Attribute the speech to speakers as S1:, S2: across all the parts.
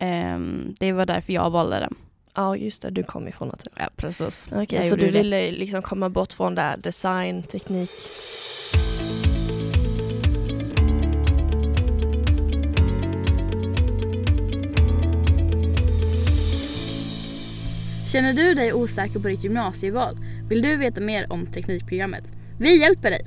S1: Ehm, det var därför jag valde den.
S2: Ja, just det. Du kom ifrån natur.
S1: Ja, precis.
S2: Okej,
S1: Jag
S2: så
S1: gjorde
S2: du
S1: det.
S2: ville liksom komma bort från där design, teknik.
S3: Känner du dig osäker på ditt gymnasieval? Vill du veta mer om Teknikprogrammet? Vi hjälper dig!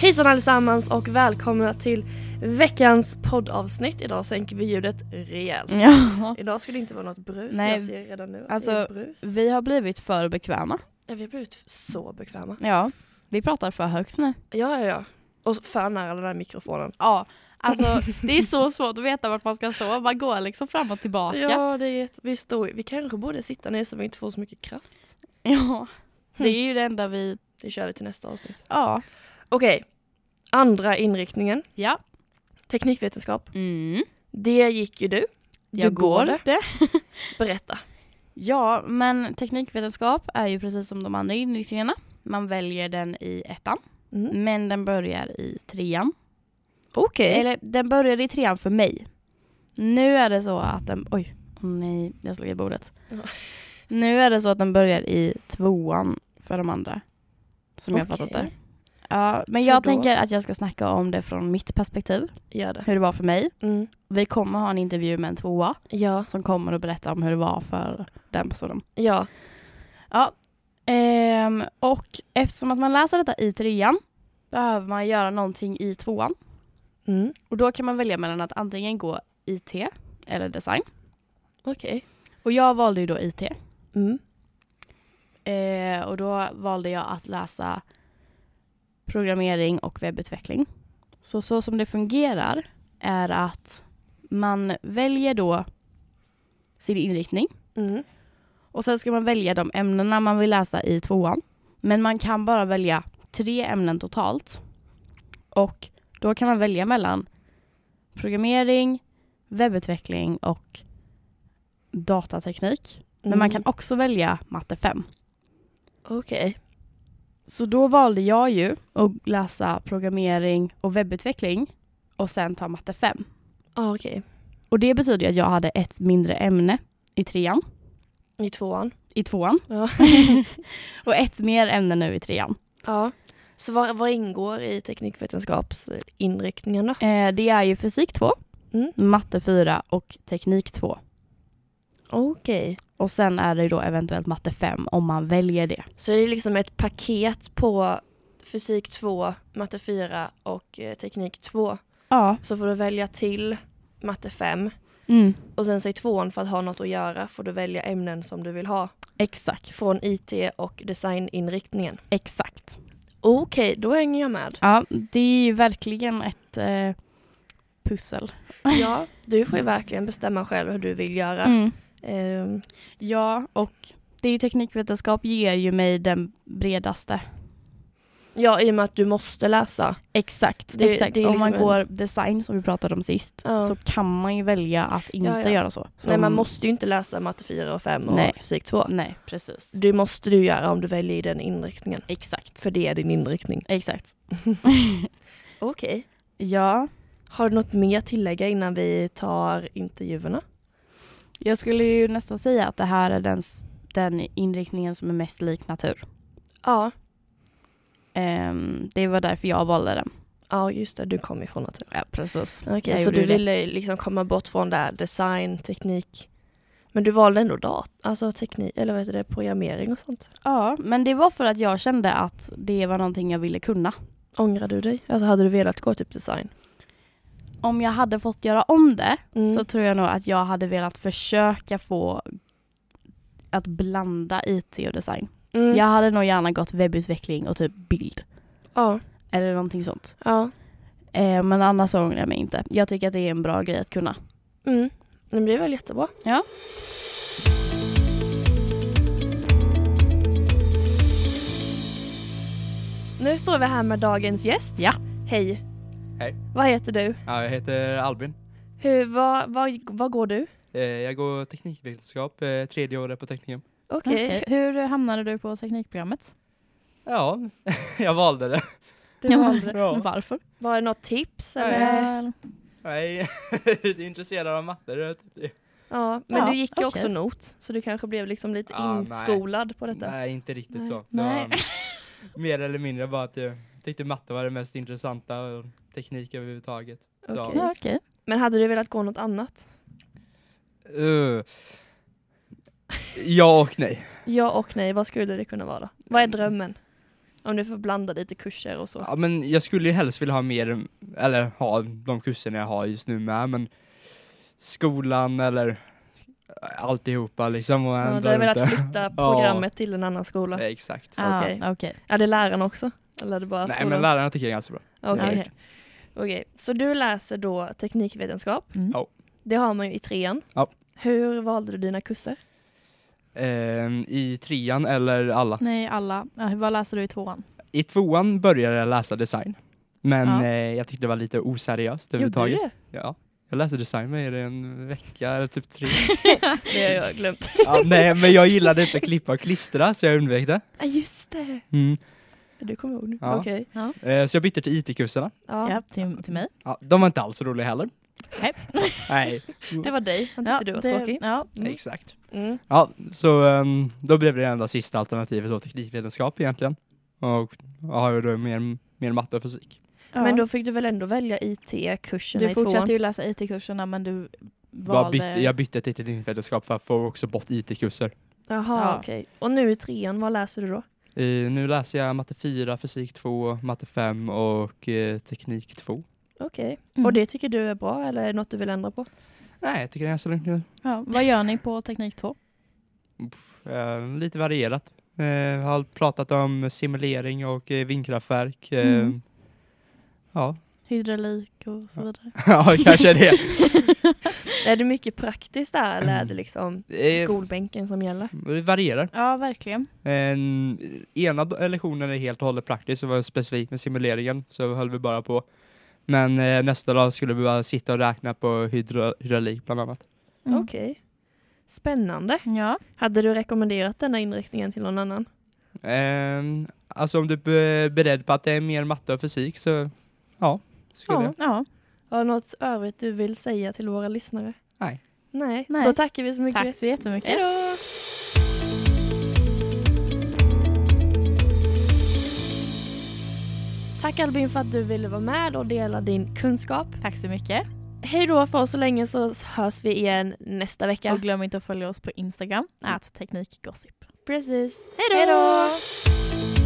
S2: Hejsan allesammans och välkomna till veckans poddavsnitt. Idag sänker vi ljudet rejält.
S1: Ja.
S2: Idag ska det inte vara något brus.
S1: Mm. Nej,
S2: jag ser redan nu att
S1: alltså,
S2: det är brus.
S1: Vi har blivit för bekväma.
S2: Ja, vi har blivit så bekväma.
S1: Ja. Vi pratar för högt nu.
S2: Ja, ja, ja. Och för nära den här mikrofonen.
S1: Ja. Alltså det är så svårt att veta vart man ska stå. Man går liksom fram och tillbaka.
S2: Ja, det är jätte... vi, står... vi kanske borde sitta ner så vi inte får så mycket kraft.
S1: ja. Det är ju det enda vi...
S2: Det kör vi till nästa avsnitt.
S1: Ja.
S2: Okej, andra inriktningen.
S1: Ja.
S2: Teknikvetenskap.
S1: Mm.
S2: Det gick ju du. Du
S1: Jag går
S2: det.
S1: det.
S2: Berätta.
S1: Ja, men teknikvetenskap är ju precis som de andra inriktningarna. Man väljer den i ettan,
S2: Mm.
S1: men den börjar i trean.
S2: Okej.
S1: Eller den började i trean för mig. Nu är det så att den... Oj, åh nej, jag slog i bordet.
S2: Ja.
S1: Nu är det så att den börjar i tvåan för de andra. Som jag
S2: Okej.
S1: fattat det. Ja, men jag
S2: Hur då?
S1: tänker att jag ska snacka om det från mitt perspektiv,
S2: Gör det.
S1: hur det var för mig.
S2: Mm.
S1: Vi kommer ha en intervju med en tvåa
S2: Ja.
S1: som kommer att berätta om hur det var för den personen.
S2: Ja.
S1: Ja. Ehm, och eftersom att man läser detta i trean behöver man göra någonting i tvåan.
S2: Mm.
S1: Och då kan man välja mellan att antingen gå IT eller design.
S2: Okej.
S1: Och jag valde ju då IT.
S2: Mm.
S1: Ehm, och då valde jag att läsa programmering och webbutveckling. Så, så som det fungerar är att man väljer då sin inriktning
S2: Mm.
S1: Och sen ska man välja de ämnena man vill läsa i tvåan. Men man kan bara välja tre ämnen totalt. Och då kan man välja mellan programmering, webbutveckling och datateknik. Men man
S2: Mm.
S1: kan också välja matte 5.
S2: Okej.
S1: Så då valde jag ju att läsa programmering och webbutveckling och sen ta matte 5.
S2: Ja, okej.
S1: Och det betyder ju att jag hade ett mindre ämne i trean,
S2: I tvåan.
S1: i tvåan
S2: Ja.
S1: och ett mer ämne nu i trean.
S2: ja. Så vad, vad ingår i teknikvetenskapsinriktningen då?
S1: Eh, det är ju fysik 2,
S2: Mm.
S1: matte 4 och teknik 2.
S2: Okej.
S1: Och sen är det ju då eventuellt matte 5 om man väljer det.
S2: Så det är liksom ett paket på fysik 2, matte 4 och eh, teknik 2.
S1: Ja.
S2: Så får du välja till matte 5
S1: Mm.
S2: och sen så i tvåan för att ha något att göra får du välja ämnen som du vill ha
S1: Exakt.
S2: från IT och designinriktningen.
S1: Exakt.
S2: Okej, då hänger jag med.
S1: Ja, det är ju verkligen ett eh, pussel.
S2: Ja, du får ju verkligen bestämma själv hur du vill göra.
S1: Mm.
S2: Ehm,
S1: Ja, och det är ju teknikvetenskap ger ju mig den bredaste.
S2: ja, i och med att du måste läsa.
S1: Exakt.
S2: Det-
S1: exakt.
S2: det är
S1: om man
S2: liksom
S1: går
S2: en-
S1: design som vi pratade om sist
S2: Ja.
S1: så kan man ju välja att inte
S2: Ja, ja.
S1: göra så. Som...
S2: Nej, man måste ju inte läsa matte 4 och 5 och
S1: Nej.
S2: fysik 2.
S1: Nej, precis.
S2: Det måste du göra om du väljer i den inriktningen.
S1: Exakt.
S2: För det är din inriktning.
S1: Exakt.
S2: Okej.
S1: Ja.
S2: Har du något mer att tillägga innan vi tar intervjuerna?
S1: Jag skulle ju nästan säga att det här är den, s- den inriktningen som är mest lik natur.
S2: Ja.
S1: Ehm, det var därför jag valde den.
S2: Ja, just det. Du kom ifrån natur.
S1: Ja, precis.
S2: Okej,
S1: Jag
S2: så
S1: gjorde
S2: du
S1: det.
S2: ville liksom komma bort från där design, teknik. Men du valde ändå dat alltså teknik, eller vad heter det, programmering och sånt.
S1: Ja, men det var för att jag kände att det var någonting jag ville kunna.
S2: Ångrar du dig? Alltså hade du velat gå typ design?
S1: Om jag hade fått göra om det
S2: Mm.
S1: så tror jag nog att jag hade velat försöka få att blanda IT och design.
S2: mm.
S1: Jag hade nog gärna gått webbutveckling och typ bild
S2: ja.
S1: eller någonting sånt.
S2: ja.
S1: Eh, men annars så ångrar jag mig inte. Jag tycker att det är en bra grej att kunna.
S2: Mm. Men det är väl jättebra.
S1: Ja.
S2: Nu står vi här med dagens gäst.
S1: Ja.
S2: Hej.
S4: Hej.
S2: Vad heter du?
S4: Ja, jag heter Albin.
S2: Hur, vad, vad, vad går du?
S4: Eh, Jag går teknikvetenskap, eh, tredje året på tekniken.
S2: Okej.
S1: Hur hamnade du på teknikprogrammet?
S4: Ja, jag valde det.
S2: Det var,
S4: Ja.
S1: Varför?
S2: var det något tips
S4: Nej.
S2: eller?
S4: Nej, jag är intresserad av matte. det är typ det.
S2: Ja, men
S1: Ja,
S2: du gick ju
S1: okej.
S2: också not, så du kanske blev liksom lite
S4: Ah, nej.
S2: inskolad på detta.
S4: Nej, inte riktigt
S2: Nej.
S4: så. Det
S1: Nej.
S4: var, mm, mer eller mindre bara att jag tyckte matte var det mest intressanta och teknik överhuvudtaget. Så,
S2: Okej. Ja,
S1: okej.
S2: Men hade du velat gå något annat?
S4: eh, ja och nej.
S2: Ja och nej, vad skulle det kunna vara? Vad är
S4: Mm.
S2: drömmen? Om du får blanda lite kurser och så.
S4: Ja, men jag skulle ju helst vilja ha mer, eller ha de kurserna jag har just nu med, men skolan eller eh, alltihopa liksom. Och
S2: Ja,
S4: ändå
S2: du har velat
S4: inte.
S2: flytta
S4: Ja.
S2: programmet till en annan skola.
S4: Nej, exakt.
S1: Ah,
S2: Okej.
S1: okej.
S2: Är det läraren också? Eller är det bara
S4: Nej,
S2: skolan?
S4: men lärarna tycker jag är ganska bra.
S2: Okej.
S1: Ja.
S2: okej. Okej, så du läser då teknikvetenskap.
S1: Mm.
S4: Ja.
S2: Det har man ju i trean.
S4: Ja.
S2: Hur valde du dina kurser?
S4: Ehm, I trean eller alla.
S1: Nej, alla. Ja, vad läser du i tvåan?
S4: I tvåan började jag läsa design. Men
S1: Ja.
S4: eh, jag tyckte det var lite oseriöst
S2: Gjorde du
S4: överhuvudtaget.
S2: det?
S4: Ja. Jag läste design med er i en vecka eller typ tre.
S2: Det har jag glömt.
S4: ja, nej, men jag gillade inte att klippa och klistra så jag undvek det.
S2: Ja, just det.
S4: Mm.
S2: Du kommer ihåg nu.
S4: Ja.
S2: Okej.
S4: Eh, så jag bytte till IT-kurserna.
S2: Ja.
S1: Ja, till, till mig.
S4: Ja, de var inte alls så roliga heller.
S1: Nej.
S4: Nej,
S2: Det var dig. Han tyckte du var
S1: det-
S2: tråkig.
S1: Ja.
S2: Mm.
S4: exakt.
S2: Mm.
S4: Mm. Ja, så ehm, då blev det enda sista alternativet då teknikvetenskap egentligen. Och jag har ju då mer, mer matte och fysik.
S2: Men
S1: Ja.
S2: då fick du väl ändå välja IT-kurserna
S1: Du
S2: i tvåan?
S1: fortsatte ju läsa IT-kurserna men du
S4: Bara
S1: valde...
S4: bytte, jag bytte till teknikvetenskap för att få också bort IT-kurser.
S2: Jaha,
S1: Ja.
S2: okej. Och nu i trean, vad läser du då?
S4: Eh, nu läser jag matte 4, fysik 2, matte 5 och eh, teknik 2.
S2: Okej.
S1: Mm.
S2: Och det tycker du är bra eller är det något du vill ändra på?
S4: Nej, jag tycker det är ganska lugnt nu.
S1: ja. Vad gör ni på Teknik 2?
S4: Eh, lite varierat. Eh, jag har pratat om simulering och eh, vindkraftverk. Eh,
S1: Mm.
S4: Ja,
S1: Hydraulik och så vidare.
S4: ja kanske det.
S2: Är det mycket praktiskt där eller
S4: Mm.
S2: är det liksom
S4: Eh,
S2: skolbänken som gäller?
S4: Det varierar.
S1: Ja, verkligen.
S4: En, ena d- lektionen är helt och hållet praktisk, så var det specifikt med simuleringen, så höll vi bara på. Men eh, nästa dag skulle vi bara sitta och räkna på hydra, hydraulik bland annat.
S1: Mm.
S2: Okej. Spännande.
S1: Ja.
S2: Hade du rekommenderat denna inriktningen till någon annan?
S4: Ehm, alltså om du är beredd på att det är mer matte och fysik så ja, skulle
S2: Ja.
S4: jag.
S1: ja.
S2: Har du något övrigt du vill säga till våra lyssnare?
S4: Nej.
S2: Nej,
S1: Nej.
S2: då tackar vi så mycket.
S1: Tack så jättemycket.
S2: Hej då! Tack Albin för att du ville vara med och dela din kunskap.
S1: Tack så mycket.
S2: Hej då för oss så länge så hörs vi igen nästa vecka.
S1: Och glöm inte att följa oss på Instagram, att teknikgossip.
S2: Precis.
S1: Hej
S2: Hej
S1: då!
S2: då!